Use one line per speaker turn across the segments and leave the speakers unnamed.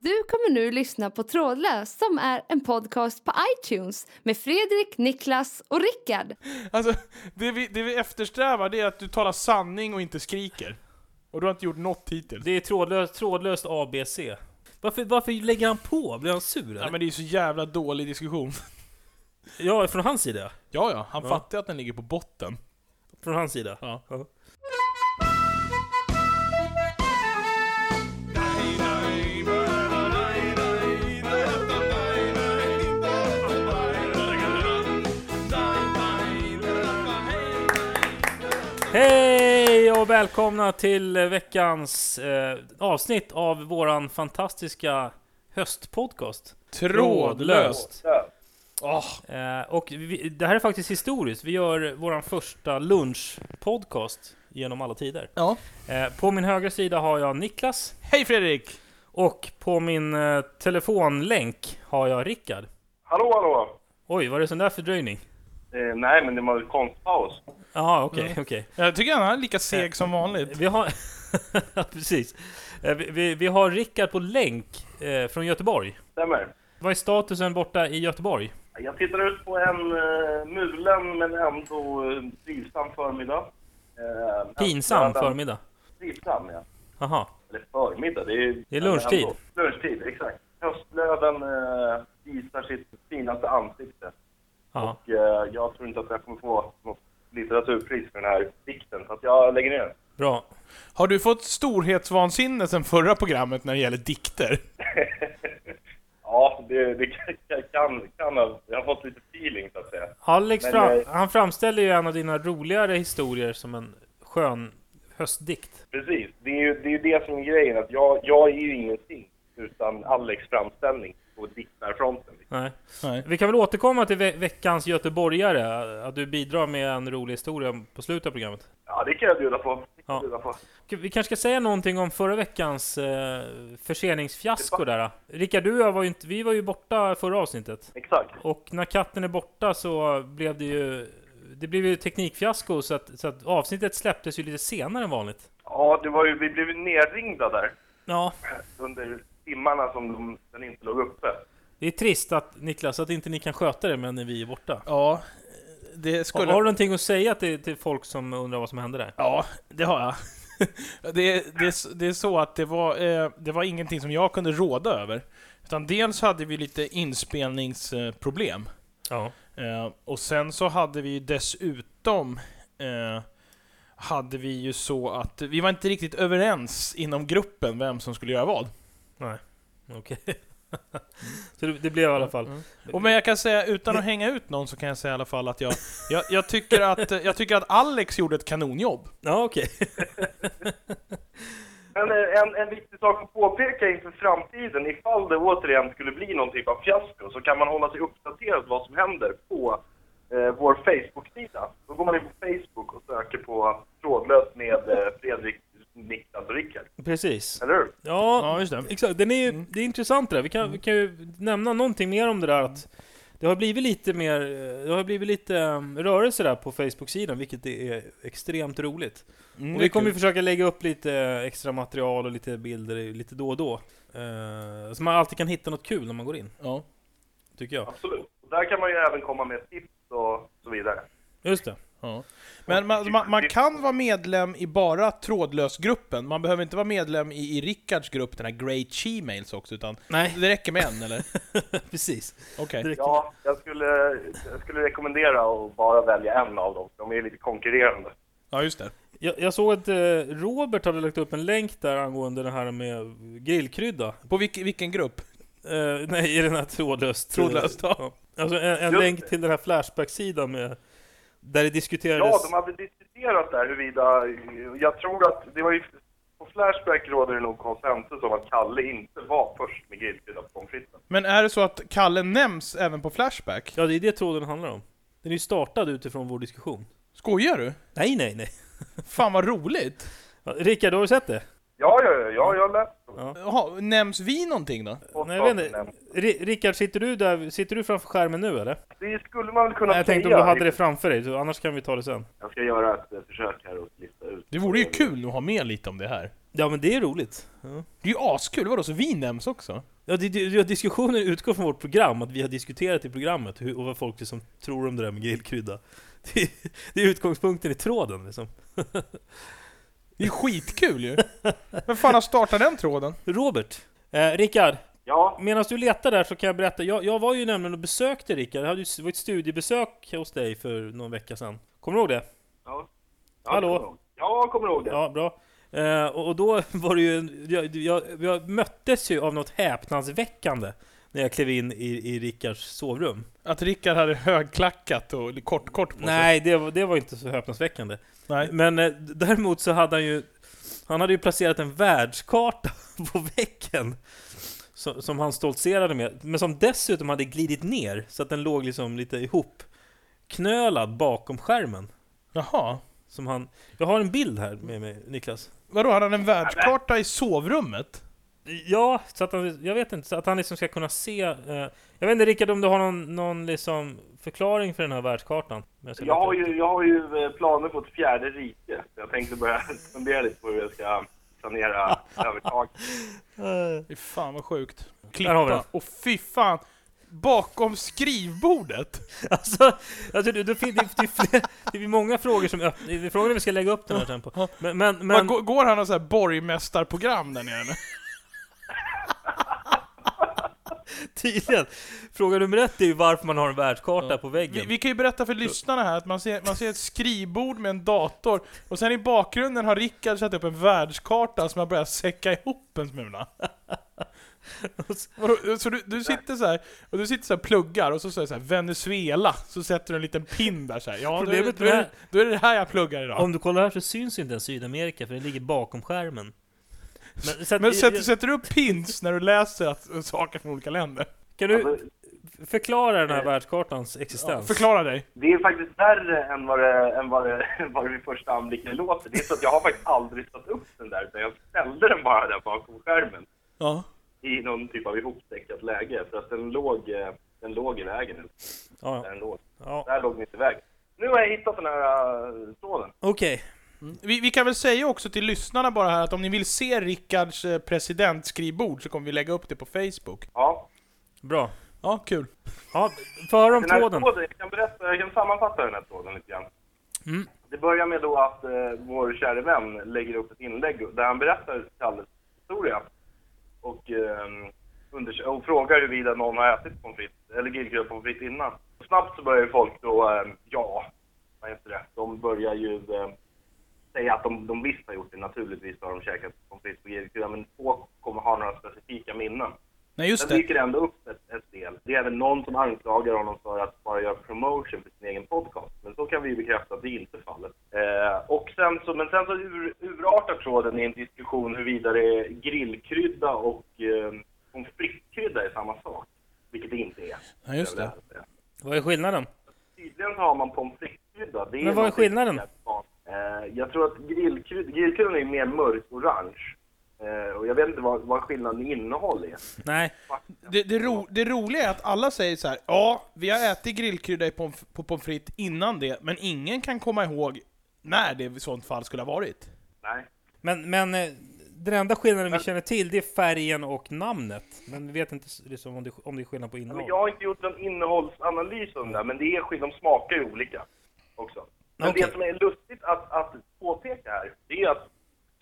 Du kommer nu lyssna på Trådlös som är en podcast på iTunes med Fredrik, Niklas och Rickard.
Alltså, det vi, det vi eftersträvar det är att du talar sanning och inte skriker. Och du har inte gjort något hittills.
Det är trådlöst, trådlöst ABC. Varför, varför lägger han på? Blir han sur eller?
Ja, men det är ju så jävla dålig diskussion.
Ja, från hans sida.
Ja, ja, han
Ja.
fattar att den ligger på botten.
Från hans sida. Ja. ja. Hej och välkomna till veckans eh, avsnitt av våran fantastiska höstpodcast.
Trådlöst.
Eh, och vi, det här är faktiskt historiskt. Vi gör våran första lunchpodcast genom alla tider.
Ja.
Eh, på min högra sida har jag Niklas
Hej Fredrik!
och på min eh, telefonlänk har jag Rickard.
Hallå, hallå!
Oj, vad är det sån där fördröjning?
Eh, nej, men det var en konstpaus.
Jaha, okej, okej.
Jag tycker han är lika seg som vanligt.
Vi har... Ja, Precis. Eh, Vi, vi, vi har Rickard på länk eh, från Göteborg.
Stämmer.
Vad är statusen borta i Göteborg?
Jag tittar ut på en eh, mulen men ändå eh, trivsam förmiddag. Eh,
Pinsam
alltså,
förmiddag.
Trivsam, ja.
Aha.
Eller förmiddag, det är...
Det är lunchtid.
Ändå. Lunchtid, exakt. Höstlöven eh, visar sitt finaste ansikte.
Ja.
Och, eh, jag tror inte att jag kommer få något litteraturpris för den här dikten, så att jag lägger ner den.
Bra.
Har du fått storhetsvansinne sen förra programmet när det gäller dikter?
Ja, det, det kan, kan, kan ha... Jag har fått lite feeling, så att säga.
Alex
Men,
fram,
eh,
han framställer ju en av dina roligare historier som en skön höstdikt.
Precis, det är ju det, är ju det som är grejen. Att jag, jag är ju ingenting utan Alex framställning på diktarfronten.
Nej.
Nej.
Vi kan väl återkomma till ve veckans göteborgare, att du bidrar med en rolig historia på slutet av programmet.
Ja, det kan jag bjuda på. Det kan
Ja.
jag bjuda på.
K- Vi kanske ska säga någonting om förra veckans eh, förseningsfiasko där. eh. Rickard, du och jag var ju inte, vi var ju borta förra avsnittet.
Exakt.
Och när katten är borta så blev det ju, det blev ju teknikfiasko så att, så att avsnittet släpptes ju lite senare än vanligt.
Ja, det var ju, vi blev ju nerringda där
Ja,
under timmarna som de, den inte låg uppe.
det är trist att Niklas, att inte ni kan sköta det men när vi är borta.
Ja, det
Har,
skulle...
har du någonting att säga till, till folk som undrar vad som hände där?
Ja, det har jag. Det, det, det är så att det var, eh, det var ingenting som jag kunde råda över. Utan dels hade vi lite inspelningsproblem.
Ja.
Eh, och sen så hade vi ju dessutom eh, hade vi ju så att vi var inte riktigt överens inom gruppen vem som skulle göra vad.
Okej. så det, det blev i alla fall.
Och men jag kan säga, utan att hänga ut någon så kan jag säga i alla fall att jag, jag, jag, tycker, att, jag tycker att Alex gjorde ett kanonjobb.
Ja, okej.
Men eh, en, en viktig sak att påpeka inför framtiden, ifall det återigen skulle bli någon typ av fiasko, så kan man hålla sig uppdaterad vad som händer på eh, vår Facebook-sida. Då går man in på Facebook och söker på trådlöst med eh, Fredrik, Niklas och Rickard.
Precis.
Eller hur?
Ja,
just det. Mm.
exakt. Den är, ju- Det är intressant det där. Vi kan, vi kan ju nämna någonting mer om det där att det har blivit lite mer, eh, det har blivit lite eh, rörelse där på Facebook-sidan, vilket det är extremt roligt.
Mm,
och vi Mm, kommer ju försöka lägga upp lite eh, extra material och lite bilder eh, lite då och då. Eh, så man alltid kan hitta något kul när man går in,
Ja.
tycker jag.
Absolut. Och där kan man ju även komma med tips och så vidare.
Just det.
Ja. Men man, man, man kan vara medlem i bara trådlösgruppen, man behöver inte vara medlem i, i Rickards grupp, den här Great She-mails också, utan
Nej,
det räcker med en, eller?
precis.
Okej.
Det räcker.
Ja, jag skulle, jag skulle rekommendera att bara välja en av dem. De är lite konkurrerande.
Ja, just det.
Jag, jag såg att eh, Robert hade lagt upp en länk där angående det här med grillkrydda.
På vilken, vilken grupp?
Eh, nej, i den här trådlöst.
Trådlöst, ja.
ja. Alltså en, en
Just
länk
det.
till den här Flashback-sidan med... Där det
Ja,
diskuterades...
de hade diskuterat där huruvida... Jag tror att det var ju... På Flashback råder det nog konsensus om att Kalle inte var först med grillkrydda på pommes fritesen.
Men är det så att Kalle nämns även på Flashback?
ja, det är det tråden handlar om. Den är ju startad utifrån vår diskussion.
Skojar du?
Nej, nej, nej.
Fan vad roligt!
Ja, Rickard, har du sett det?
Ja, ja, ja, ja, jag läste dem.
Jaha, nämns vi någonting då?
Och
Nej, jag vet
saken
inte.
nämndes.
Ri- Rickard, sitter du där? Sitter du framför skärmen nu eller?
Det skulle man väl kunna
Nej, jag tänkte om
säga. liksom.
du hade det framför dig, så annars kan vi ta det sen.
Jag ska göra ett eh, försök här och lista ut.
Det vore ju kul att ha med lite om det här.
Ja men det är roligt. Ja.
Det är ju askul, vadå? Så vi nämns också?
Ja, det, det, ja, diskussionen utgår från vårt program, att vi har diskuterat i programmet hur, och vad folk liksom tror om det där med grillkrydda. Det, det är utgångspunkten i tråden liksom.
Det är ju skitkul ju! Vem fan har startat den tråden?
Robert, eh, Rickard,
Ja,
medan du letar där så kan jag berätta. Jag, jag var ju nämligen och besökte Rickard, det hade ju s- varit studiebesök hos dig för någon vecka sedan. Kommer du ihåg det?
ja. ja
Hallå?
jag kommer ihåg. Ja, jag kommer ihåg det.
Ja, bra. Eh, och, och då var det ju, en- jag, jag, jag möttes ju av något häpnadsväckande när jag klev in i, i Rickards sovrum.
Att Rickard hade högklackat och kort, kort på sig?
Nej, det var, det var inte så häpnadsväckande.
Nej.
Men eh, d- däremot så hade han ju Han hade ju placerat en världskarta på väggen som, som han stoltserade med, men som dessutom hade glidit ner så att den låg liksom lite ihop knölad bakom skärmen.
Jaha.
Som han, jag har en bild här med mig, Niklas.
Vadå, hade han en världskarta i sovrummet?
Ja, så att han, jag vet inte, så att han liksom ska kunna se... Eh, jag vet inte Rickard om du har någon, någon liksom förklaring för den här världskartan? Men jag ska
Jag har,
leta upp
ju, jag har ju eh, planer på ett fjärde rike. så Jag tänkte börja fundera lite på hur jag ska planera övertaget.
den. Eh,
Fy fan vad sjukt.
Där har vi den.
Klippa. Och fy fan. Bakom skrivbordet?
Alltså, alltså det, det, fin- det, det, är fler, det är många frågor som öppnar, det är frågan om vi ska lägga upp den här sen på. Men, men,
Men...
men
Går, går han något så här borgmästarprogram där nere nu?
tydligen, fråga nummer ett är ju varför man har en världskarta på
Vi,
väggen.
vi kan ju berätta för lyssnarna här att man ser, man ser ett skrivbord med en dator, och sen i bakgrunden har Rickard satt upp en världskarta som har börjat säcka ihop en smula. Vadå, Så du, du sitter så här, och du sitter så här och pluggar, och så säger så här Venezuela, så sätter du en liten pin där så här. Ja, då är, det,
Problemet
då, är
med-
det, då är det det här jag pluggar idag.
Om du kollar här så syns inte ens Sydamerika för det ligger bakom skärmen. Men, så att,
Men sätter, sätter du upp pins när du läser att, saker från olika länder?
kan
Alltså,
du förklara den här världskartans
Ja,
existens?
förklara dig.
Det är faktiskt värre än vad det, än vad det, än vad det vid första anblicken låter. Det är så att jag har faktiskt aldrig satt upp den där, utan jag ställde den bara där bakom skärmen
Ja.
i någon typ av ihopstäckat läge, för att den låg, eh, den låg i vägen.
Ja,
Där,
ja.
den låg.
ja.
där låg den inte i vägen. Nu har jag hittat den här eh, tråden.
Okej,
Vi, vi kan väl säga också till lyssnarna bara här att om ni vill se Rickards eh, presidentskrivbord så kommer vi lägga upp det på Facebook.
Ja.
bra.
Ja, kul.
Ja, för om
Den här
tråden.
tråden, jag kan, berätta, jag kan sammanfatta den här tråden lite grann.
Mm.
Det börjar med då att eh, vår käre vän lägger upp ett inlägg där han berättar Kalles historia. Och, eh, unders- och frågar huruvida någon har ätit pommes frites, eller grillkryddat pommes frites innan. Snabbt så börjar ju folk då, eh, ja, vad heter det, de börjar ju eh, säga att de, de visst har gjort det, naturligtvis har de käkat pommes frites på grillkrydda, men få kommer ha några specifika minnen.
Nej, just
Sen
det.
dyker det ändå upp ett, ett del. Det är även någon som anklagar honom för att bara göra promotion för sin egen podcast. Men så kan vi ju bekräfta att det inte är fallet. Eh, och sen så, men sen så ur, urartar tråden i en diskussion huruvida det är grillkrydda och eh, pommes frites-krydda är samma sak. Vilket det inte är.
Ja, just det.
Vad är skillnaden?
Tydligen så har man pommes frites-krydda.
Men
Det
vad är
någonting
skillnaden?
jävligt vanligt. Eh, jag tror att grillkryd, grillkryddan är mer mörk-orange. Eh, och jag vet inte vad, vad skillnaden i innehåll är.
Nej,
Det, det, ro, det roliga är att alla säger så här: ja, vi har ätit grillkrydda i pomf- på pommes frites innan det, men ingen kan komma ihåg när det i sånt fall skulle ha varit.
Nej.
Men, men eh, den enda skillnaden vi känner till, det är färgen och namnet. Men vi vet inte s- liksom, om, det, om det är skillnad på
Ja, Men
innehåll.
jag har inte gjort någon innehållsanalys om det här, men det är skillnad, de smakar ju olika också. Men
Okej.
det som är lustigt att, att påpeka här, det är att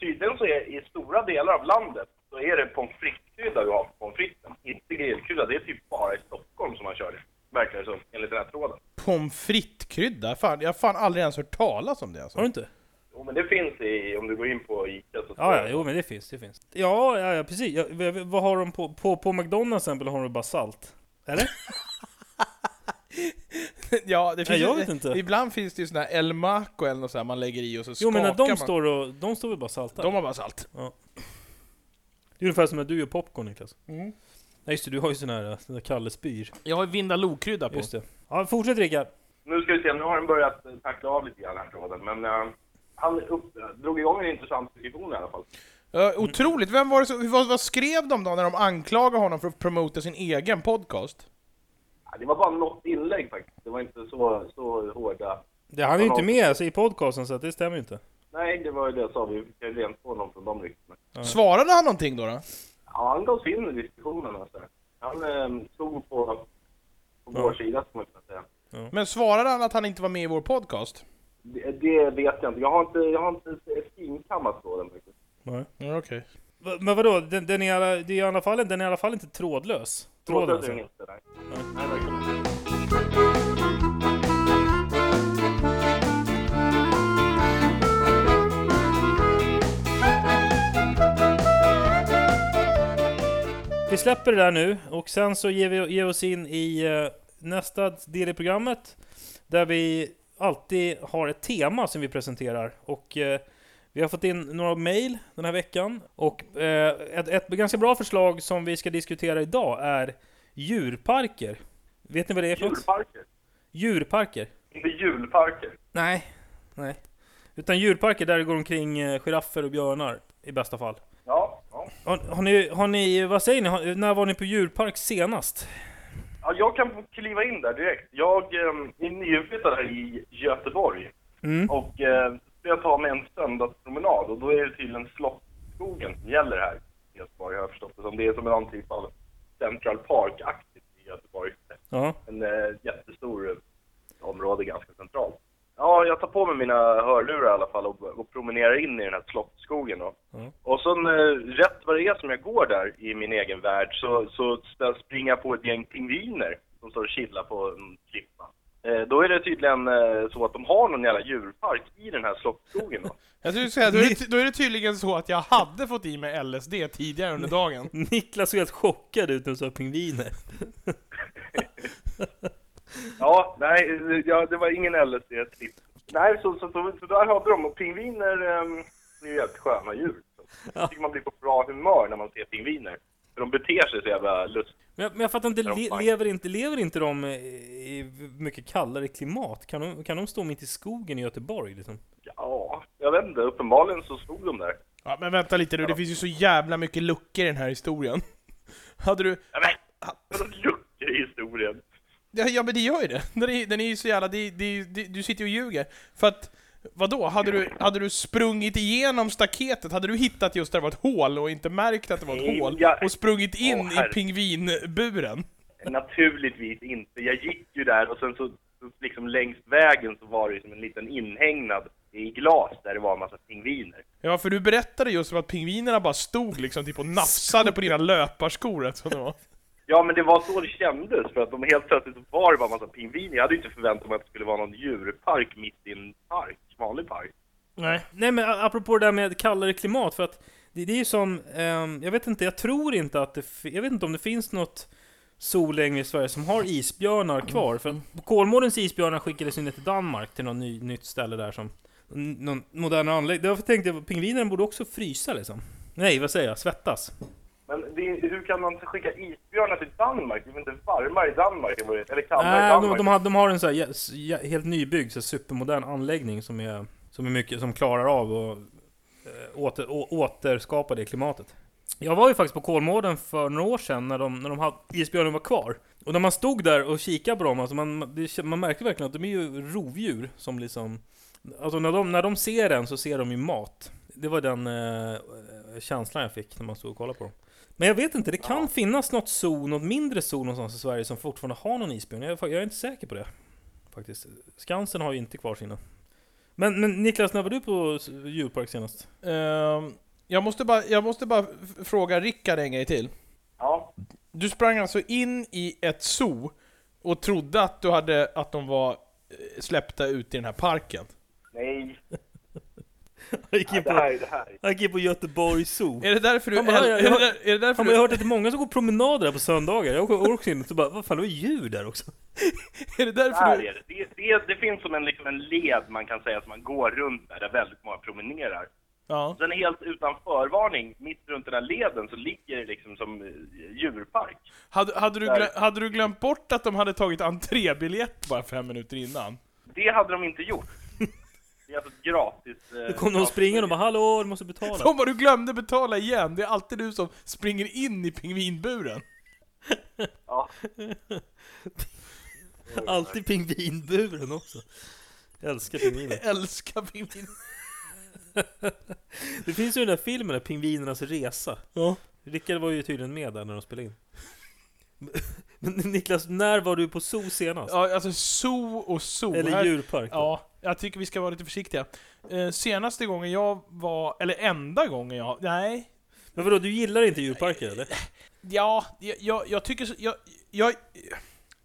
tydligen så är i stora delar av landet så är det pommes frites-krydda du har på pommes fritesen, inte grillkrydda. Det är typ bara i Stockholm som man kör det, verkar det som, enligt den här tråden.
Pommes frites-krydda? Fan, jag har fan aldrig ens hört talas om det
Har du
alltså.
inte?
Jo, men det finns i, om du går in på ICA så...
Ja, ja, jo men det finns, det finns. Ja, ja, ja precis. Ja, v- v- vad har de på, på, på McDonalds till exempel har de bara salt? Eller?
Ja, det finns
Nej, jag
ju-
vet inte.
Ibland finns det ju sån här El Maco eller något sånt här man lägger i och så
Jo men när
skakar
de
man.
står och, de står väl bara salta?
De har bara salt.
Det är ungefär som när du gör popcorn Niklas.
Mm.
Nej just det, du har ju sån här, eh, sån där Kalle spyr.
Jag har Vindaloo-krydda på.
Just det. Ja, fortsätt Rickard.
Nu ska vi se, nu har den börjat eh, tackla av lite grann här tråden, men eh, han upp, drog igång en intressant diskussion i alla fall.
Ja, otroligt! Vem var det som, vad, vad skrev de då när de anklagade honom för att promota sin egen podcast?
Ja, Det var bara något inlägg faktiskt. Det var inte så, så hårda.
Det, han är ju inte med alltså, i podcasten så att det stämmer ju inte.
Nej, det var ju det jag sa. Vi fick ju rent på honom från de ryktena.
Svarade han någonting då? då?
Ja, han gav sig in i diskussionen alltså. Han eh, stod på, på
Ja.
vår sida, ska man kunna säga.
Men svarade han att han inte var med i vår podcast?
Det, det vet jag inte. Jag har inte, jag har inte skinkammat på den faktiskt.
Nej.
Ja, okej.
Va- Men vadå, den, den, är, i alla- det är i alla fall, den är i alla fall inte trådlös? Tråden
Trådlös är den
alltså?
inte, nej. Nej, verkligen inte.
Vi släpper det där nu och sen så ger vi ger oss in i eh, nästa del i programmet där vi alltid har ett tema som vi presenterar och eh, vi har fått in några mejl den här veckan och eh, ett, ett ganska bra förslag som vi ska diskutera idag är djurparker. Vet ni vad det är för något?
Djurparker.
Djurparker?
Inte julparker.
Nej, nej. Utan djurparker där det går omkring eh, giraffer och björnar i bästa fall.
Ja, ja.
Har, har, ni, har ni, vad säger ni, har, när var ni på djurpark senast?
ja, jag kan kliva in där direkt. Jag eh, är nyinflyttad här i Göteborg
Mm.
och eh, ska jag ta mig en söndagspromenad och då är det tydligen Slottsskogen som gäller här i Göteborg har jag förstått det som. Det är som en annan typ av Central Park-aktigt i Göteborg.
Ja.
En eh, jättestor eh, område ganska centralt. Ja, jag tar på mig mina hörlurar i alla fall och, och promenerar in i den här Slottsskogen. Då.
Mm.
Och sen eh, rätt vad det är som jag går där i min egen värld så, så st- springer jag på ett gäng pingviner som står och chillar på en klippa. Eh, då är det tydligen eh, så att de har någon jävla djurpark i den här Slottsskogen. Då.
Jag skulle säga, då, är det, då är det tydligen så att jag hade fått i mig LSD tidigare under dagen.
Niklas såg helt chockad ut när du sa pingviner.
Ja, nej, eh, ja, det var ingen LSD-tripp. Nej, så, så, så, så där hade de. Och pingviner ehm, är ju helt sköna djur. Jag tycker man blir på bra humör när man ser pingviner. För de beter sig så jävla lustigt.
Men jag, men jag fattar inte,
Ja,
le,
fine.
lever, inte, lever inte de i, i mycket kallare klimat? Kan de, kan de stå mitt i skogen i Göteborg liksom?
Ja, jag vet inte. Uppenbarligen så stod de där.
Ja, men vänta lite nu, det finns ju så jävla mycket luckor i den här historien. Hade du...
Ja, men, vadå luckor i historien?
Ja, ja men det gör ju det. Den är, den är ju så jävla... Det, det, det, du sitter ju och ljuger. För att, vadå? Hade du, hade du sprungit igenom staketet? Hade du hittat just där det var ett hål och inte märkt att det var ett
Nej,
hål?
jag-
Och sprungit in
Åh, herre.
i pingvinburen?
Naturligtvis inte. Jag gick ju där och sen så, så liksom längs vägen så var det ju som en liten inhägnad i glas där det var en massa pingviner.
Ja, för du berättade just om att pingvinerna bara stod liksom typ och nafsade på dina löparskor, rätt som det var.
Ja, men det var så det kändes, för att de helt plötsligt var det bara en massa pingviner. Jag hade ju inte förväntat mig att det skulle vara någon djurpark mitt i en park, vanlig park.
Nej.
Nej men a- apropå det där med kallare klimat, för att det, det är ju som, ehm, jag vet inte, jag tror inte att det, fi- jag vet inte om det finns något soläng i Sverige som har isbjörnar kvar. För
Mm.
att Kolmårdens isbjörnar skickades ju ner till Danmark, till något ny, nytt ställe där som, n- någon modern anläggning. Därför tänkte jag, pingvinerna borde också frysa liksom. Nej, vad säger jag? Svettas.
Men det, hur kan man skicka isbjörnar till Danmark? Det är väl inte varmare i Danmark än vad det- eller kallare i
Nej, de,
Danmark?
de, har, de har en så här, jä- s- jä- helt nybyggd, så här, supermodern anläggning som är, som är mycket, som klarar av att eh, åter, å, återskapa det klimatet. Jag var ju faktiskt på Kolmården för några år sedan när, de, när de hade, isbjörnen var kvar. Och när man stod där och kikade på dem, alltså man, det, man märkte verkligen att de är ju rovdjur som liksom... Alltså när de, när de ser en så ser de ju mat. Det var den eh, känslan jag fick när man stod och kollade på dem. Men jag vet inte, det kan finnas något zoo, något mindre zoo någonstans i Sverige som fortfarande har någon isbjörn. Jag, är fa- jag är inte säker på det. Faktiskt. Skansen har ju inte kvar sina. Men, men Niklas, när var du på s- djurpark senast?
Ehm, jag, måste bara, jag måste bara f- fråga Rickard en grej till.
Ja,
Du sprang alltså in i ett zoo och trodde att, du hade, att de var eh, släppta ut i den här parken?
nej,
Jag gick in
det
på,
här är det här.
jag gick in på Göteborg zoo.
Är det därför du...
Ja, men jag-
äl-
jag-
är det där- är det därför
Ja, men jag
du-
har hört att det är många som går promenader där på söndagar. Jag åker också in och så bara, vad fan, det var djur där också.
är det därför
Där
du-
är det. Det, det. det finns som en, liksom en led man kan säga att man går runt där, där väldigt många promenerar.
Ja.
Sen helt utan förvarning, mitt runt den här leden, så ligger det liksom som eh, djurpark.
Hade, hade, du
Där.
glö- hade du glömt bort att de hade tagit entrébiljett bara fem minuter innan?
Det hade de inte gjort. Det är alltså ett gratis... eh,
Då kom de
gratis-
springande och bara, hallå, du måste betala.
Tomma, du glömde betala igen! Det är alltid du som springer in i pingvinburen.
Ja,
Alltid pingvinburen också. Jag älskar pingviner.
Jag älskar pingvin...
Det finns ju den där filmen, där Pingvinernas resa.
Ja.
Rickard var ju tydligen med där när de spelade in. Men Niklas, när var du på zoo senast?
ja, alltså zoo och zoo.
Eller
här-
djurpark? då?
Ja, jag tycker vi ska vara lite försiktiga. Eh, senaste gången jag var, eller enda gången jag, nej.
Men vadå, du gillar inte djurparker eller?
Ja, jag, jag, jag tycker så, jag, jag,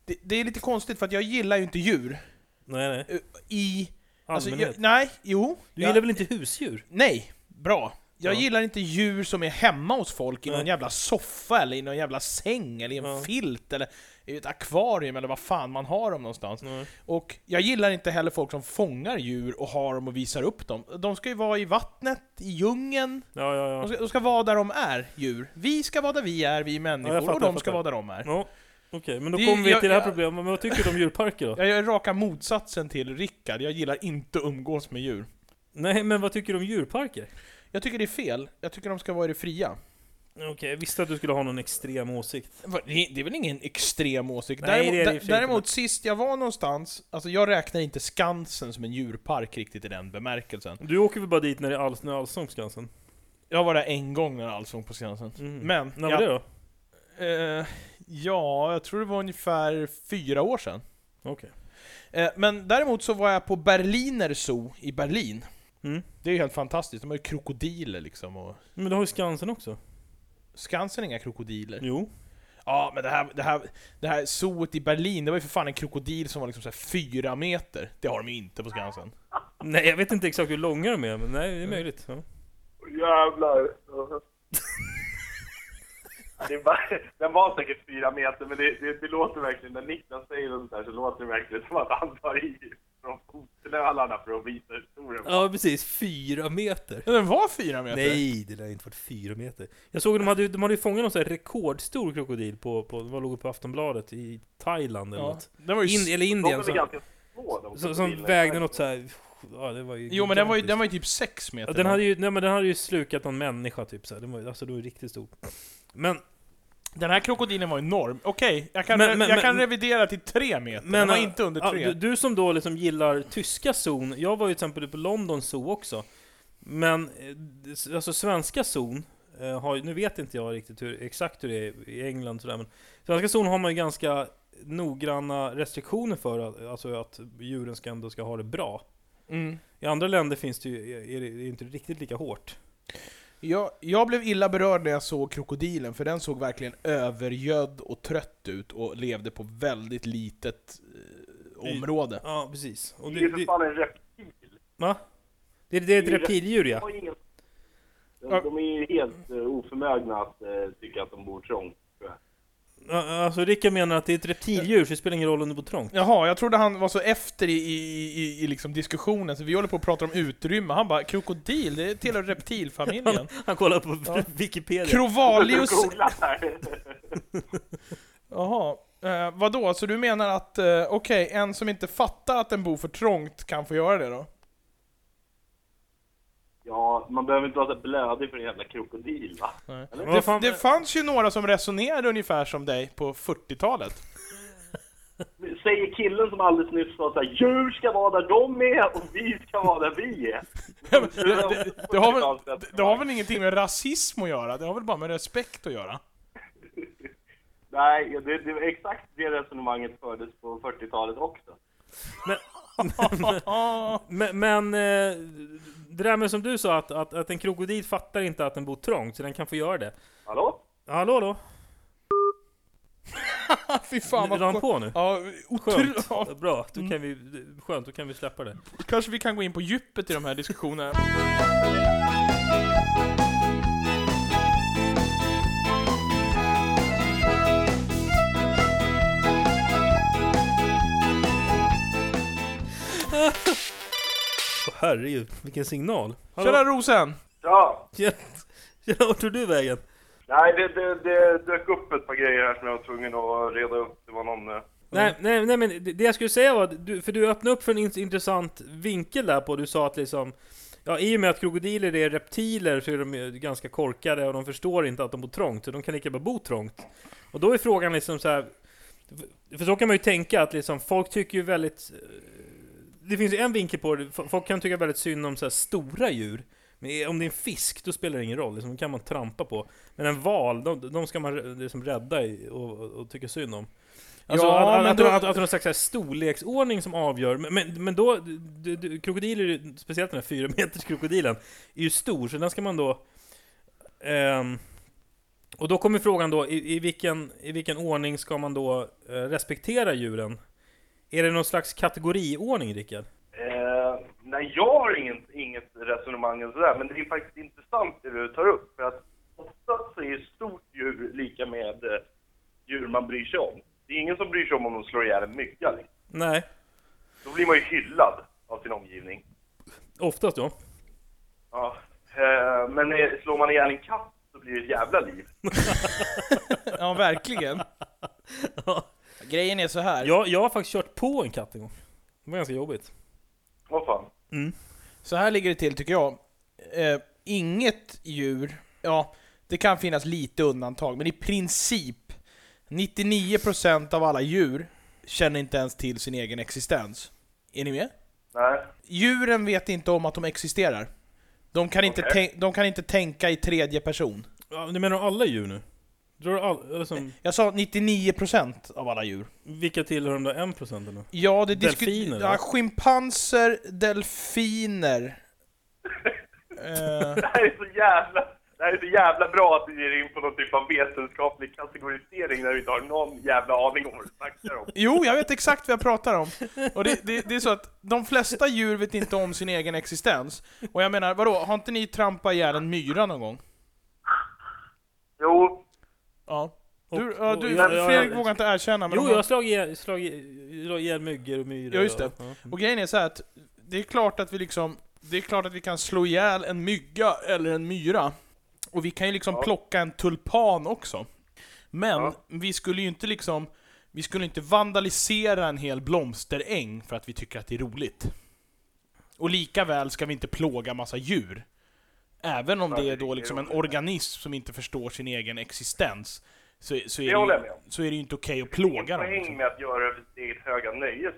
det, det är lite konstigt för att jag gillar ju inte djur.
Nej, nej.
eh, I, alltså,
Allmänhet.
jag, nej, jo.
du
jag,
gillar väl inte husdjur?
Nej, bra. Jag
Ja.
gillar inte djur som är hemma hos folk i någon
Nej.
jävla soffa eller i någon jävla säng eller i en
Ja.
filt eller i ett akvarium eller vad fan man har dem någonstans.
Nej.
Och jag gillar inte heller folk som fångar djur och har dem och visar upp dem. De ska ju vara i vattnet, i djungeln,
Ja, ja,
de
ja.
ska, de ska vara där de är, djur. Vi ska vara där vi är, vi människor,
Ja, jag fattar,
och de
jag
ska
fattar.
vara där de är.
ja. Okej, men då
Det-
kommer vi
jag-
till det här
jag-
problemet. Men vad tycker du om djurparker då?
Jag är raka motsatsen till Rickard, jag gillar inte att umgås med djur.
Nej, men vad tycker du om djurparker?
Jag tycker det är fel, jag tycker de ska vara i det fria.
Okej, jag visste att du skulle ha någon extrem åsikt.
Va, Det det är väl ingen extrem åsikt?
Nej, det är det i och för sig
däremot
inte,
däremot
men-
sist jag var någonstans, alltså jag räknar inte Skansen som en djurpark riktigt i den bemärkelsen.
Du åker väl bara dit när det är alls, när allsång på Skansen?
Jag var där en gång när Allsång på Skansen.
Mm.
Men,
När
ja,
var det då?
Eh, ja, jag tror det var ungefär fyra år sedan.
Okej.
Eh, men däremot så var jag på Berliner Zoo i Berlin.
Mm.
Det är ju helt fantastiskt, de har ju krokodiler liksom och...
Men du har ju Skansen också.
Skansen har inga krokodiler.
Jo.
Ja, men det här, det här, det här zooet i Berlin, det var ju för fan en krokodil som var liksom så här fyra meter. Det har de ju inte på Skansen.
Nej, jag vet inte exakt hur långa de är, men nej, det är möjligt. Ja.
Jävlar. Det är bara, den var säkert fyra meter, men det, det, det låter verkligen, när Niklas säger det sådär så låter det verkligen som att han tar i från fotlölarna för att visa hur stor den var.
Ja, precis. Fyra meter.
Ja, Den var fyra meter?
Nej, det lär inte varit fyra meter. Jag såg att de hade, ju- de hade ju fångat någon sån här rekordstor krokodil på, på vad låg på Aftonbladet i Thailand eller
Ja,
något.
den var ju...
In,
s-
eller
De var
Indien.
väl
Som,
ganska små de
som, som
krokodilerna.
vägde något så här. Ja, det var ju
liksom. jo men den var ju,
gigantiskt.
den var ju typ sex meter.
Ja, den
lång.
hade ju, nej, men den hade ju slukat någon människa typ så här. Den var ju, alltså det var ju riktigt stor. Men,
den här krokodilen var enorm. Okej, jag kan,
Men-
re-
men-
jag
men-
kan revidera till tre meter. den var
äh,
inte under
ja,
tre.
Du, du som då liksom gillar tyska zon, jag var ju till exempel på London zoo också. Men, eh, det- alltså svenska zon, eh, har, ju- nu vet inte jag riktigt hur, exakt hur det är i England och sådär, men svenska zon har man ju ganska noggranna restriktioner för, att, alltså att djuren ska ändå ska ha det bra.
Mm.
I andra länder finns det ju, är det, är det inte riktigt lika hårt.
Jag, jag blev illa berörd när jag såg krokodilen, för den såg verkligen övergödd och trött ut och levde på väldigt litet eh, område.
Ja, precis. Och
Det är ju
det,
för
det,
fan en reptil.
va? Det, det är ett
Det är ju-
reptildjur
De har
ja.
ju ingen- De de är ju helt eh, oförmögna att eh, tycka att de bor trångt, tror jag.
Ja, Alltså Rickard menar att det är ett reptildjur, så det spelar ingen roll om du bor trångt.
Jaha, jag trodde han var så efter i, i, i, i liksom diskussionen, så vi håller på och pratar om utrymme. Han bara 'Krokodil, det tillhör reptilfamiljen'
Han kollar på Wikipedia.
Krovalius
Googla här.
Jaha, eh, vadå? Så du menar att, eh, okej, en som inte fattar att den bor för trångt kan få göra det då?
Ja, man behöver inte vara så blödig för en jävla krokodil, va?
Nej.
Eller?
Vad
Det,
fan-
det fanns ju några som resonerade ungefär som dig på 40-talet.
Säger killen som alldeles nyss sa såhär Djur ska vara där de är och vi ska vara där vi är.
Det, det, har väl, det, det har väl ingenting med rasism att göra? Det har väl bara med respekt att göra?
Nej, det, det var exakt det resonemanget fördes på 40-talet också.
Men, men, men eh, det där med som du sa, att, att, att en krokodil fattar inte att den bor trångt, så den kan få göra det.
Hallå?
Hallå då?
Fy fan
Är han
vad
på nu?
Ja, Mm.
Skönt.
otroligt.
Bra, då kan vi, skönt, då kan vi släppa det.
Kanske vi kan gå in på djupet i de här diskussionerna.
Åh herregud, vilken signal. Hallå?
Tjena Rosen!
Ja,
Tjena, tjena, vart tog du vägen?
nej det, det, det dök upp ett par grejer här som jag var tvungen att reda upp. Det var någon... eh,
Nej, nej, nej, men det det jag skulle säga var, att du, för du öppnade upp för en in- intressant vinkel där på, du sa att liksom, ja i och med att krokodiler är reptiler så är de ju ganska korkade och de förstår inte att de bor trångt, så de kan lika bra bo trångt. Och då är frågan liksom så här, för- för så kan man ju tänka att liksom, folk tycker ju väldigt, eh, det finns ju en vinkel på det, fo- folk kan tycka väldigt synd om så här stora djur, Men om det är en fisk, då spelar det ingen roll. Liksom, den kan man trampa på. Men en val, de, de ska man liksom rädda i och, och tycka synd om. Alltså,
Ja,
att,
men
att,
då-
att, att, att det är någon slags så här storleksordning som avgör. Men, men, men då, du, du, krokodiler, speciellt den här fyra meters krokodilen, är ju stor, så den ska man då... ehm, och då kommer frågan då, i, i, vilken, i vilken ordning ska man då eh, respektera djuren? Är det någon slags kategoriordning, Rickard?
Eh, nej, jag har inget, inget resonemang eller sådär, men det är faktiskt intressant det du tar upp. För att oftast så är ju stort djur lika med eh, djur man bryr sig om. Det är ingen som bryr sig om om de slår ihjäl en mygga. Liksom.
Nej,
Då blir man ju hyllad av sin omgivning.
oftast då.
Ja. Eh, men eh, slår man ihjäl en katt så blir det ett jävla liv.
Ja, verkligen. Grejen är så här.
Jag, jag har faktiskt kört på en katt en gång. Det var ganska jobbigt.
Vad fan.
Så här ligger det till tycker jag. Eh, inget djur, ja, det kan finnas lite undantag, men i princip 99% av alla djur känner inte ens till sin egen existens. Är ni med?
Nej.
Djuren vet inte om att de existerar. De kan, inte,
Okej.
tän- de kan inte tänka i tredje person.
Ja, Du menar alla djur nu? Drar du all, liksom,
Jag sa 99% av alla djur.
vilka tillhör de där 1% eller?
Ja, det
Delfiner,
diskuterar... Ja,
va?
schimpanser, delfiner... eh,
Det här är så jävla... Det här är så jävla bra att du ger in på någon typ av vetenskaplig kategorisering när du inte har någon jävla aning om vad du snackar om.
Jo, jag vet exakt vad jag pratar om. Och det, det, det är så att de flesta djur vet inte om sin egen existens. Och jag menar, vadå, har inte ni trampat ihjäl en myra någon gång?
Jo,
Ja. Du,
Och-
ja,
och-
du
ja, ja,
Fredrik
ja.
vågar inte erkänna, men
Jo,
de
jag
har-
har slagit ihjäl- slagit ihjäl myggor och myror.
Ja, just det.
Mm.
och-
Och grejen är så här att det är klart att vi liksom, det är klart att vi kan slå ihjäl en mygga eller en myra. Och vi kan ju liksom
Ja.
plocka en tulpan också. Men
Ja.
vi skulle ju inte liksom, vi skulle inte vandalisera en hel blomsteräng för att vi tycker att det är roligt. Och lika väl ska vi inte plåga massa djur. Även om
Ja,
det
det
är då
är
liksom en
roligt.
organism som inte förstår sin egen existens. Så, så, är,
Det
det
håller
ju,
jag med om.
så är det ju inte okej att
ingen
plåga dem.
poäng
Liksom.
med att göra det för sitt eget höga nöje.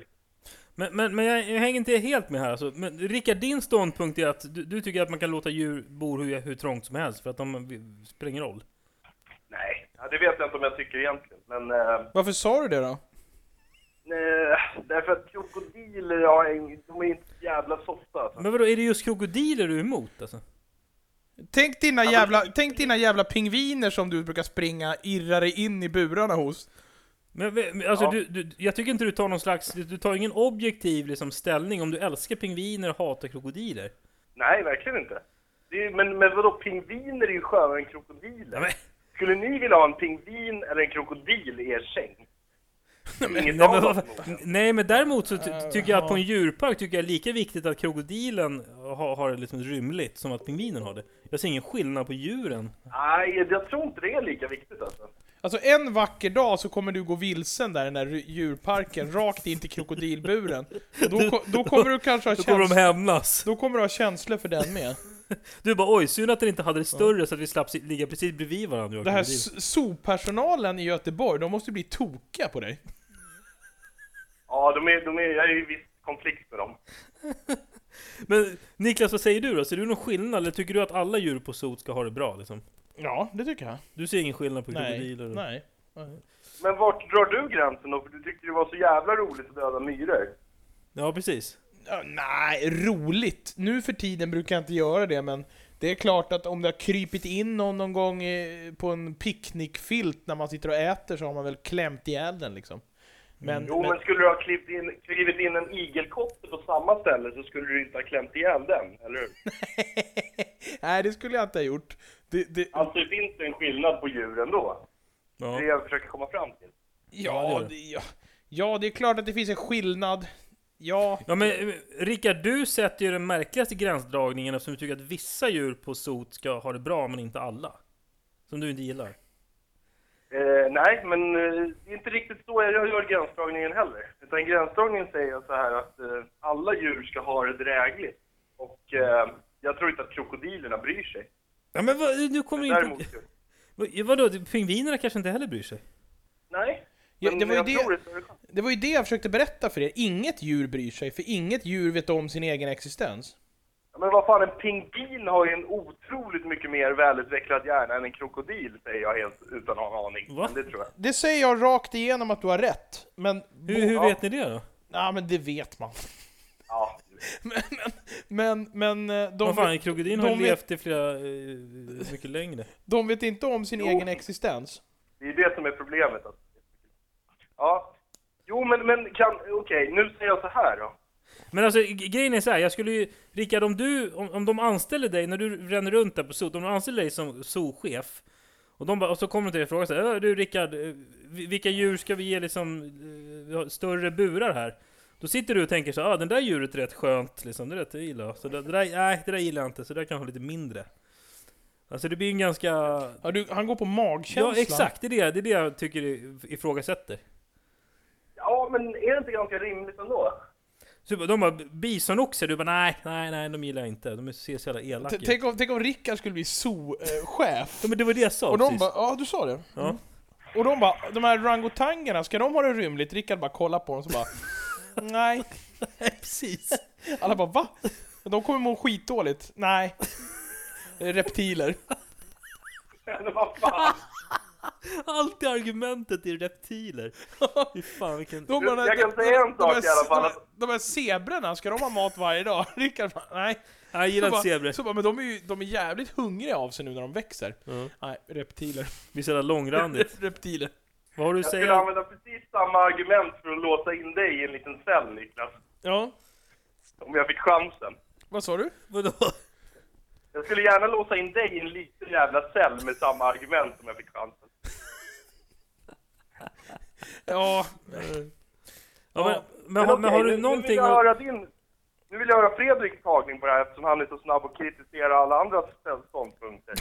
Men, men, men jag, jag hänger inte helt med här alltså. Men Rickard, din ståndpunkt är att du, du tycker att man kan låta djur bo hur, hur trångt som helst för att de det spelar ingen roll.
Nej, ja, det vet jag inte om jag tycker egentligen. Men eh,
Varför sa du det då?
nej, därför att krokodiler har en, de är inte så jävla softa. Alltså.
Men vadå, är det just krokodiler du är emot alltså?
Tänk dina,
men-
jävla, tänk dina jävla pingviner som du brukar springa irrare in i burarna hos.
Men, men, alltså,
Ja.
du, du, jag tycker inte du tar någon slags, du, du tar ingen objektiv liksom, ställning om du älskar pingviner och hatar krokodiler.
Nej, verkligen inte. Det är, men, men vadå, pingviner är ju skönare än krokodiler.
Ja, men-
Skulle ni vilja ha en pingvin eller en krokodil i er säng? Inget
Nej
av
men,
dem.
vad- nej men däremot så ty, tycker jag att på en djurpark tycker jag är lika viktigt att krokodilen har, har det liksom rymligt som att pingvinen har det. Jag ser ingen skillnad på djuren.
Nej, jag tror inte det är lika viktigt alltså.
Alltså en vacker dag så kommer du gå vilsen där i den där ry- djurparken, rakt in till krokodilburen. Och Då, ko- då kommer du kanske ha
Då kommer de
känslor,
hämnas.
då kommer du ha känslor för den med.
Du bara oj, synd att den inte hade det större så att vi slapp si- ligga precis bredvid varandra. jag och
Det här
krokodilen.
s- zoopersonalen i Göteborg, de måste ju bli tokiga på dig.
Ja, de är, de är, jag är i viss konflikt med dem.
Men Niklas, vad säger du då? Ser du någon skillnad eller tycker du att alla djur på sot ska ha det bra liksom?
Ja, det tycker jag.
Du ser ingen skillnad på
Nej,
krokodiler? och-
nej.
Men vart drar du gränsen då? För du tyckte det var så jävla roligt att döda myror.
Ja, precis.
Ja, nej, roligt. Nu för tiden brukar jag inte göra det, men det är klart att om det har krypit in någon, någon gång eh, på en picknickfilt när man sitter och äter så har man väl klämt ihjäl den liksom. Men,
Jo, men,
men
skulle du ha klivit in, klivit in en igelkotte på samma ställe så skulle du inte ha klämt ihjäl den, eller hur?
nej, det skulle jag inte ha gjort. Det, det,
Alltså, det finns en skillnad på djuren då. Det är det
Ja.
jag försöker komma fram till.
det
ja,
gör det.
det, ja, ja, det är klart att det finns en skillnad. Ja,
Ja men eh, Rickard, du sätter ju den märkligaste gränsdragningen eftersom du tycker att vissa djur på sot ska ha det bra, men inte alla. Som du inte gillar.
Eh, nej, men eh, det är inte riktigt så jag gör gränsdragningen heller. Utan gränsdragningen säger jag så här att eh, alla djur ska ha det drägligt. Och eh, jag tror inte att krokodilerna bryr sig.
Ja men vad, nu kommer in på...
Däremot...
Vad- Vadå, pingvinerna kanske inte heller bryr sig?
Nej.
Ja,
Men
det var ju
jag
det-
tror det är större chans.
det var ju det jag försökte berätta för er. Inget djur bryr sig, för inget djur vet om sin egen existens.
Ja, men vad fan, en pingvin har ju en otroligt mycket mer välutvecklad hjärna än en krokodil, säger jag helt utan att ha en aning.
Va?
Men det tror jag.
Det säger jag rakt igenom att du har rätt, men...
Hur, hur
Ja.
vet ni det då?
Ja, men det vet man.
Ja,
Men, men eh, de,
Vad fan,
vet,
krokodilen har
de
ju
vet-
levt i flera... eh, mycket längre.
de vet inte om sin
Jo.
egen existens.
det är ju det som är problemet. Alltså. Ja. Jo, men, men kan... Okej, nu säger jag så här då.
Men alltså g- grejen är så här, jag skulle ju... Rickard, om du... Om, om de anställer dig, när du ränner runt där på zoo, om de anställer dig som zoochef, och, de bara, och så kommer de till dig och frågar så här, "Ö, du Rickard, eh, vi- vilka djur ska vi ge liksom eh, vi har större burar här? Då sitter du och tänker så här, ah, den där djuret är rätt skönt liksom, det är rätt jag gillar jag. Så det, det där, nej, det där gillar jag inte, så det där kan jag ha lite mindre. Alltså det blir ju en ganska...
Ja, du, han går på magkänslan.
Ja, exakt. Det är det, det är det jag tycker i- ifrågasätter.
Ja, men är det inte ganska rimligt ändå?
Så de bara, bisonoxer, du bara nej, nej, nej, de gillar jag inte. De ser så jävla elaka
T-
ut.
Tänk om, tänk om Rickard skulle bli zoo-chef.
Ja, men det var det jag sa
Och de
precis.
bara, ja du sa det. Mm.
ja.
Och de bara, de här rangotangerna, ska de ha det rymligt? Rickard bara kollar på dem så bara, nej.
precis.
Alla bara, va? De kommer må skitdåligt. Nej. Det är Reptiler.
Men vad fan?
Alltid argumentet är reptiler. Fy fan vilken...
De,
Jag kan säga en sak i alla fall.
De, de här zebrorna, ska de ha mat varje dag? Rickard bara, nej.
Nej, jag gillar
Så
inte
bara,
zebror.
så bara, men de är ju de är jävligt hungriga av sig nu när de växer.
Ja.
Nej, reptiler.
Vi är så jävla långrandigt.
reptiler.
Vad har du att
Jag skulle
säga?
använda precis samma argument för att låsa in dig i en liten cell, Niklas.
Ja,
Om jag fick chansen.
vad sa du?
Vadå?
Jag skulle gärna låsa in dig i en liten jävla cell med samma argument om jag fick chansen.
Ja,
Ja, men, men,
Men
har-
okej,
men har
nu-
du
nu vill
någonting
jag
att...
höra din... Nu vill jag höra Fredriks tagning på det här eftersom han är så snabb och kritiserar alla andra ståndpunkter.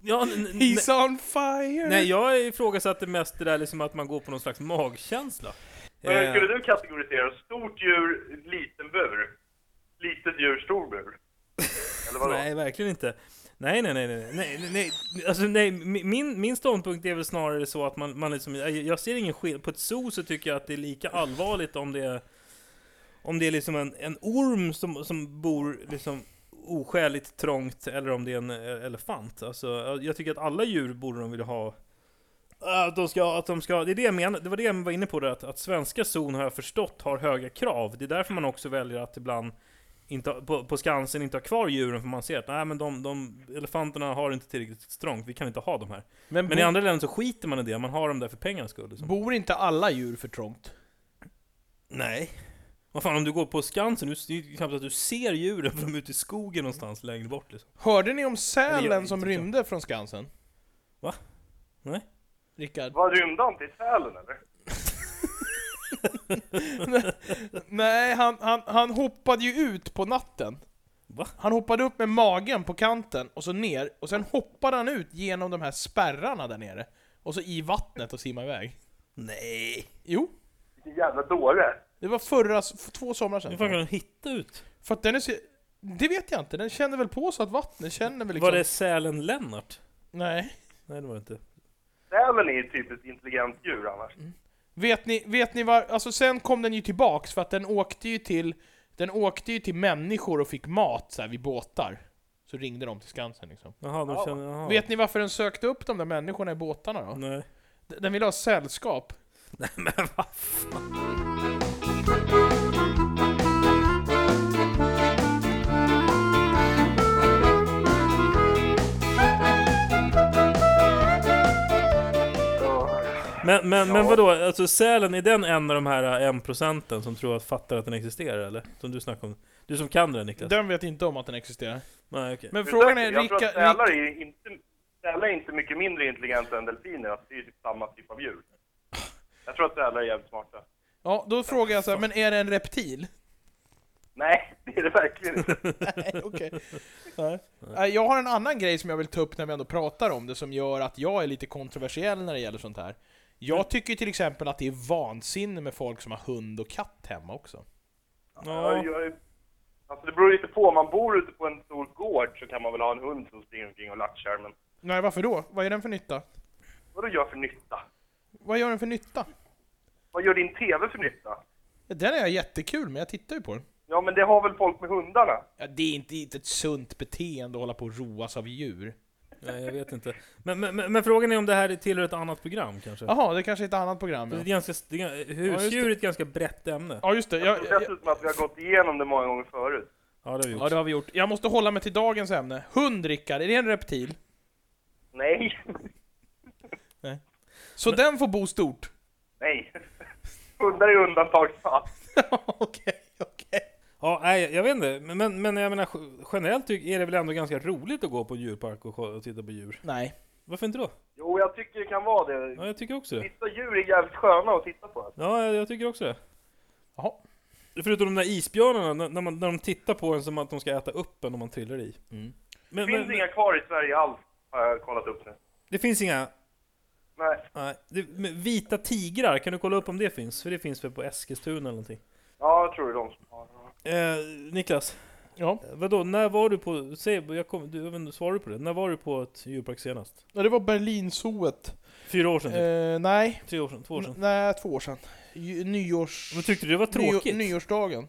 Ja, n- n-
he's on fire!
nej, jag ifrågasatte mest det där liksom att man går på någon slags magkänsla.
Men
Eh,
hur skulle du kategorisera stort djur, liten bur? Litet djur, stor bur? Eller vadå?
Nej, verkligen inte. Nej, nej, nej, nej, nej, nej, nej. Alltså, nej. mi- Min, min ståndpunkt är väl snarare så att man, man liksom, jag- jag ser ingen skillnad. På ett zoo så tycker jag att det är lika allvarligt om det är, om det är liksom en, en orm som, som bor liksom oskäligt trångt eller om det är en eh, elefant. Alltså, jag- jag tycker att alla djur borde de vilja ha äh, att de ska, att de ska, det är det jag menar, det var det jag var inne på där, att, att svenska zon har jag förstått har höga krav. Det är därför man också väljer att ibland inte, ha- på, på Skansen inte ha kvar djuren för man ser att nej men de, de elefanterna har inte tillräckligt strångt, vi kan inte ha dem här.
men
Men
bo,
i andra länder så skiter man i det, man har dem där för pengarnas skull. Liksom.
bor inte alla djur för trångt?
Nej. Vad fan om du går på Skansen, du, det är ju knappt att du ser djuren för de är ute i skogen någonstans längre bort liksom.
Hörde ni om
Eller jag-
sälen som
inte jag.
rymde från Skansen?
Va? Nej?
Rickard?
Vad rymde han till Sälen eller?
Nej, han, han, han hoppade ju ut på natten.
Va?
Han hoppade upp med magen på kanten och så ner, och sen hoppade han ut genom de här spärrarna där nere. Och så i vattnet och simmade iväg.
Nej!
Jo,
Vilken jävla dåre!
det var förra, s- två somrar
Hur fan kan
sedan.
de hitta ut?
För att den är så, Det vet jag inte, den känner väl på så att vattnet känner väl liksom...
Var det sälen Lennart?
Nej.
Nej det var det inte.
Sälen är ju ett typiskt intelligent djur annars.
Vet ni, vet ni var, alltså sen kom den ju tillbaks för att den åkte ju till, den åkte ju till människor och fick mat så här, vid båtar. Så ringde de till Skansen liksom.
Jaha, de
Ja.
känner, jaha.
Vet ni varför den sökte upp de där människorna i båtarna då?
Nej.
D- Den ville ha sällskap.
Nej men vad fan.
Så,
Men, men, men
Ja.
vadå, alltså sälen, är den en av de här eh, 1% som tror att fattar att den existerar eller? Som du snackar om? Du som kan den Niklas?
Den vet inte om att den existerar.
Nej okej.
Men
ursäkta,
frågan är,
jag tror
Ricka,
att sälar är ju inte, sälar är inte mycket mindre intelligenta än delfiner, alltså det är ju typ samma typ av djur. Jag tror att sälar är jävligt smarta.
ja, då frågar jag så här, men är det en reptil?
Nej, det är det verkligen inte.
Nej, okej. Nej. Nej, Jag har en annan grej som jag vill ta upp när vi ändå pratar om det, som gör att jag är lite kontroversiell när det gäller sånt här. Jag tycker ju till exempel att det är vansinne med folk som har hund och katt hemma också.
Ja.
Jag, jag, alltså det beror lite på, om man bor ute på en stor gård så kan man väl ha en hund som springer omkring och latchar, men
Nej, varför då? Vad är den för nytta?
vad gör för nytta?
Vad gör den för nytta?
Vad gör din TV för nytta?
Den är jättekul, men jag tittar ju på den.
Ja, men det har väl folk med hundarna?
Ja, det är inte, inte ett sunt beteende att hålla på och roas av djur.
Nej, jag vet inte. Men, men, men men frågan är om det här tillhör ett annat program kanske?
Jaha, det kanske är ett annat program.
Det är ett
Ja,
ganska, det är, husdjur är ett ganska brett ämne.
ja just det.
Jag
Jag,
tror
jag,
dessutom att vi har gått igenom det många gånger förut.
Ja, det har vi
ja,
gjort.
det har vi gjort. Jag måste hålla mig till dagens ämne. Hund, Rickard, är det en reptil?
Nej,
Så den får bo stort?
nej. Hundar är undantagsfall.
Okej, okej.
Ja, nej, jag vet inte. Men- Men, men jag menar, generellt tycker- är det väl ändå ganska roligt att gå på en djurpark och, kolla- och titta på djur?
Nej.
Varför inte då?
Jo, jag tycker det kan vara det.
Ja, jag tycker också det.
Vissa djur är jävligt sköna att titta på.
Ja, jag jag tycker också det.
Jaha.
Förutom de där isbjörnarna, när- när, man, när de tittar på en som att de ska äta upp en om man trillar i.
Mm.
Men,
Det
men,
finns
men,
inga kvar i Sverige alls, har jag kollat upp nu.
det finns inga...
Nej,
Nej, det, men vita tigrar, kan du kolla upp om det finns? För det finns väl på Eskilstuna eller någonting?
ja, jag tror det är de som har dem.
Eh, Niklas,
Ja.
vadå, när var du på... Säg, jag kom, du, jag vet inte, svarar du på det? När var du på ett djurpark senast?
Ja, det var Berlinzooet.
Fyra år sedan? typ?
Eh, nej,
Tre år sedan? Två år sedan?
nej, två år sedan. Ju- Nyårs...
Men tyckte du det var tråkigt?
Ny, nyårsdagen.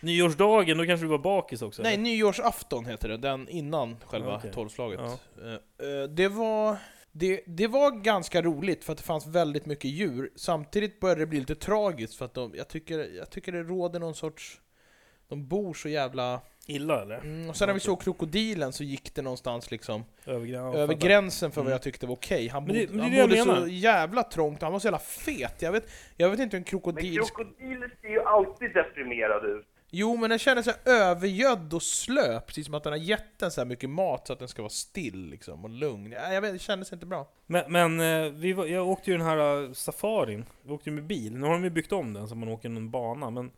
Nyårsdagen, då kanske du var bakis också?
Nej,
eller?
nyårsafton heter det. Den innan själva
Ja, okej.
tolvslaget.
Ja.
Eh, eh, det var... Det, det var ganska roligt för att det fanns väldigt mycket djur. Samtidigt började det bli lite tragiskt för att de, jag, tycker, jag tycker det råder någon sorts... De bor så jävla...
Illa eller?
Mm, och sen när vi såg krokodilen så gick det någonstans liksom
Övergräns?
över gränsen för vad jag tyckte var okej. Han
Mm. Men det-
bodde,
men det är
han
det jag
bodde så
menar.
jävla trångt, han var så jävla fet. Jag vet, jag vet inte hur en
Men
krokodil...
krokodiler ser ju alltid deprimerade ut.
Jo, men den känner sig övergödd och slö, precis som att den har gett den så här mycket mat så att den ska vara still liksom, och lugn. Ja, jag vet, det kändes inte bra.
Men, men eh, vi var, jag åkte ju den här eh, safarin, vi åkte ju med bil. Nu har de ju byggt om den så man åker någon bana, men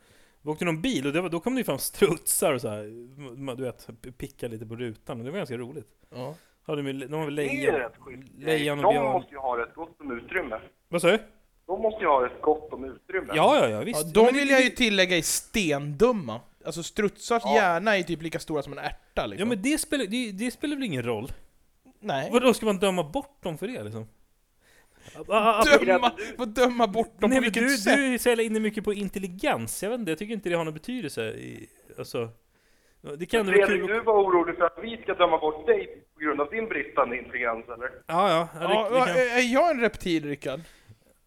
vi åkte någon bil och det var, då kom det ju fram strutsar och så här, m- m- du vet, p- picka lite på rutan. och Det var ganska roligt.
Ja.
Hade med, de har väl
Det är ju
lejon,
rätt schysst.
lejon och
De
björn.
måste ju ha rätt gott om utrymme.
Vad sa du?
De måste ju ha rätt gott om utrymme.
Ja, ja, ja, visst.
Ja,
Ja,
de
men det-
vill jag ju tillägga är stendumma. Alltså strutsars
Ja.
hjärna är typ lika stora som en ärta
Ja,
liksom.
men det spelar, det, det spelar väl ingen roll?
Nej.
Vadå, ska man döma bort dem för det liksom? Ah, ah, ah,
Döma, vad döma bort dem
Nej,
på
men
vilket
du,
sätt?
du säljer in dig mycket på intelligens. Jag vet inte, jag tycker inte det har någon betydelse. I, alltså, det kan det vara
Fredrik,
kul
du
att...
var orolig för att vi ska döma bort dig på grund av din bristande intelligens, eller?
Ja, ja. ja,
Ja, eh.
det, det kan...
är- är jag en reptil, Rickard?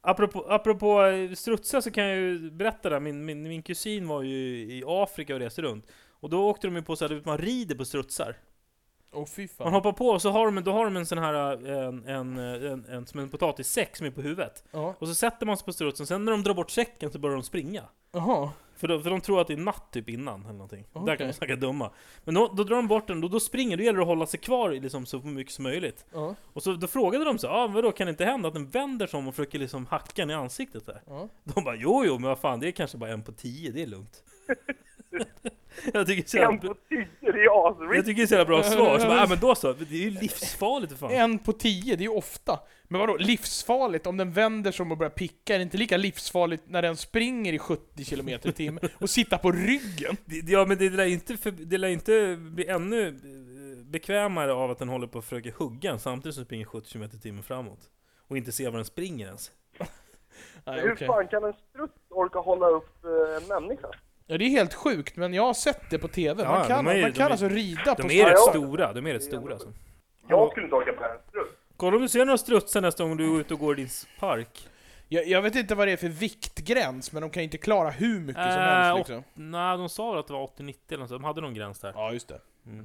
apropå, apropå eh, strutsar så kan jag ju berätta det. här. Min, min, min kusin var ju i Afrika och reste runt. Och då åkte de ju på så här, man rider på strutsar.
Åh fy fan.
Man hoppar på och så har de, då har de en sån här, eh, en, en, en, en, som en potatissäck som är på huvudet.
Ja.
Och så sätter man sig på strutsen, sen när de drar bort säcken så börjar de springa.
Jaha.
För de, för de tror att det är natt typ innan eller någonting. Där
Okej.
kan de snacka dumma. Men då, då drar de bort den, då, då springer det, gäller det att hålla sig kvar i liksom, så mycket som möjligt.
Ja.
Och så då frågade de så ah, vadå kan det inte hända att den vänder sig om och försöker liksom hacka en i ansiktet där?
Ja.
De bara jo jo men vad fan det är kanske bara en på tio, det är lugnt. jag tycker så
En
jävla,
på tio, det är
jag
asrikt!
tycker så jävla bra svar. Så bara, ah, men då så, det är ju livsfarligt för fan.
En på tio, det är ju ofta. Men vadå, livsfarligt? Om den vänder sig om och börjar picka, är det inte lika livsfarligt när den springer i 70 km i timmen och sitter på ryggen?
Det- Ja men det lär ju inte, för, det lär ju inte bli ännu eh, bekvämare av att den håller på att försöka hugga en samtidigt som den springer 70 km i timmen framåt. Och inte ser var den springer ens.
Nej,
Hur
okej.
fan kan en strutt orka hålla upp eh, en människa?
Ja, det är helt sjukt, men jag har sett det på TV.
Ja,
man kan,
de är ju-
man
de
kan
är-
alltså rida på...
De är rätt
Ja, ja.
stora, de är rätt stora alltså.
Jag skulle inte orka bära en strutt.
Kolla om du ser några strutsar nästa gång du är ute och går i din park.
jag, jag vet inte vad det är för viktgräns, men de kan inte klara hur mycket som
Äh,
helst
och-
liksom.
Nej, de sa väl att det var 80-90 eller något, så de hade någon gräns där.
Ja, just det.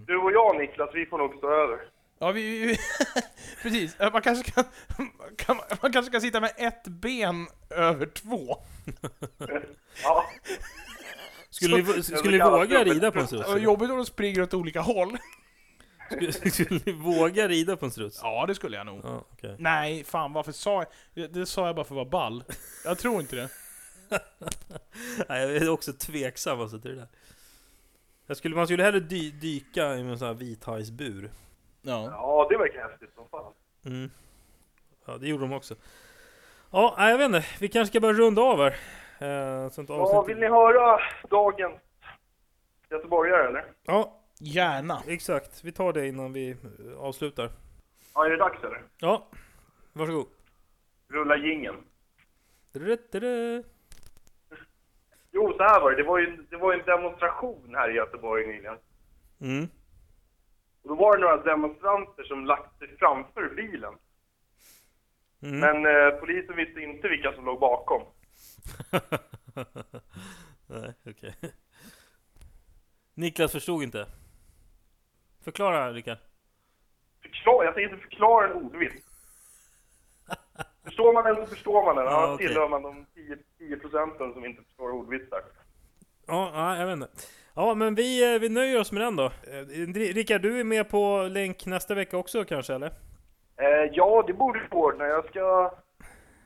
Du och jag Niklas, vi får nog stå över.
Ja, vi... vi precis. Äh, Man kanske kan, kan... Man kanske kan sitta med ett ben över två.
Ja,
Skulle ni,
så
skulle ni
kallas
våga
det
rida på en struts?
Och Jobbigt om de springer åt olika håll.
Skulle, skulle ni våga rida på en struts?
Ja, det skulle jag nog.
Ja, okej.
Nej, fan varför sa jag... Det, det sa jag bara för att vara ball. Jag tror inte det.
Nej, jag är också tveksam alltså till det där. Jag skulle, man skulle hellre dy, dyka i en sån här vithajsbur.
Ja.
ja det verkar häftigt som fan.
Mm. Ja, det gjorde de också. Ja, nej, jag vet inte. Vi kanske ska börja runda av här. Eh, så inte
Ja,
avsnittet-
vill ni höra dagens göteborgare eller?
ja,
Gärna.
exakt. Vi tar det innan vi eh, avslutar.
Ja, är det dags eller?
Ja, varsågod.
Rulla jingeln.
Du-du-du-du.
Jo, så här var det. Det var ju, det var ju en demonstration här i Göteborg nyligen.
Mm.
Och då var det några demonstranter som lagt sig framför bilen.
Mm.
Men eh, polisen visste inte vilka som låg bakom.
Nej, okej. Niklas förstod inte. Förklara, Rickard.
Förklar, jag tänker inte förklara en ordvits. Förstår man den så förstår man den.
Ja,
Annars
okej.
tillhör man de 10, 10 procenten som inte förstår ordvitsar.
Ja, ja, jag vet inte. Ja, men vi, eh, vi nöjer oss med den då. Eh, Rickard, du är med på länk nästa vecka också kanske, eller?
Eh, ja, det borde vi ordna. Jag ska,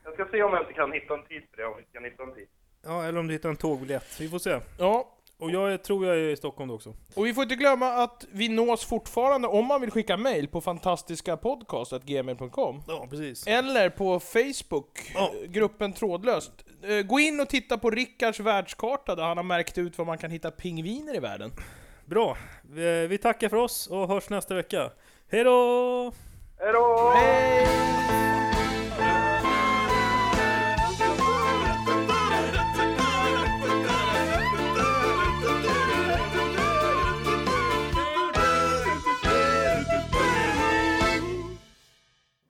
jag ska se om jag inte kan hitta en tid för det. Om vi kan hitta en tid.
Ja, eller om du hittar en tågbiljett. Vi får se.
Ja,
Och jag är- tror jag är i Stockholm då också.
och vi får inte glömma att vi nås fortfarande om man vill skicka mail på fantastiskapodcast.gmail.com
Ja, precis.
Eller på Facebook,
Ja.
eh, gruppen Trådlöst. Eh, Gå in och titta på Rickards världskarta där han har märkt ut var man kan hitta pingviner i världen.
Bra. Vi, vi tackar för oss och hörs nästa vecka. Hej då!
Hej då!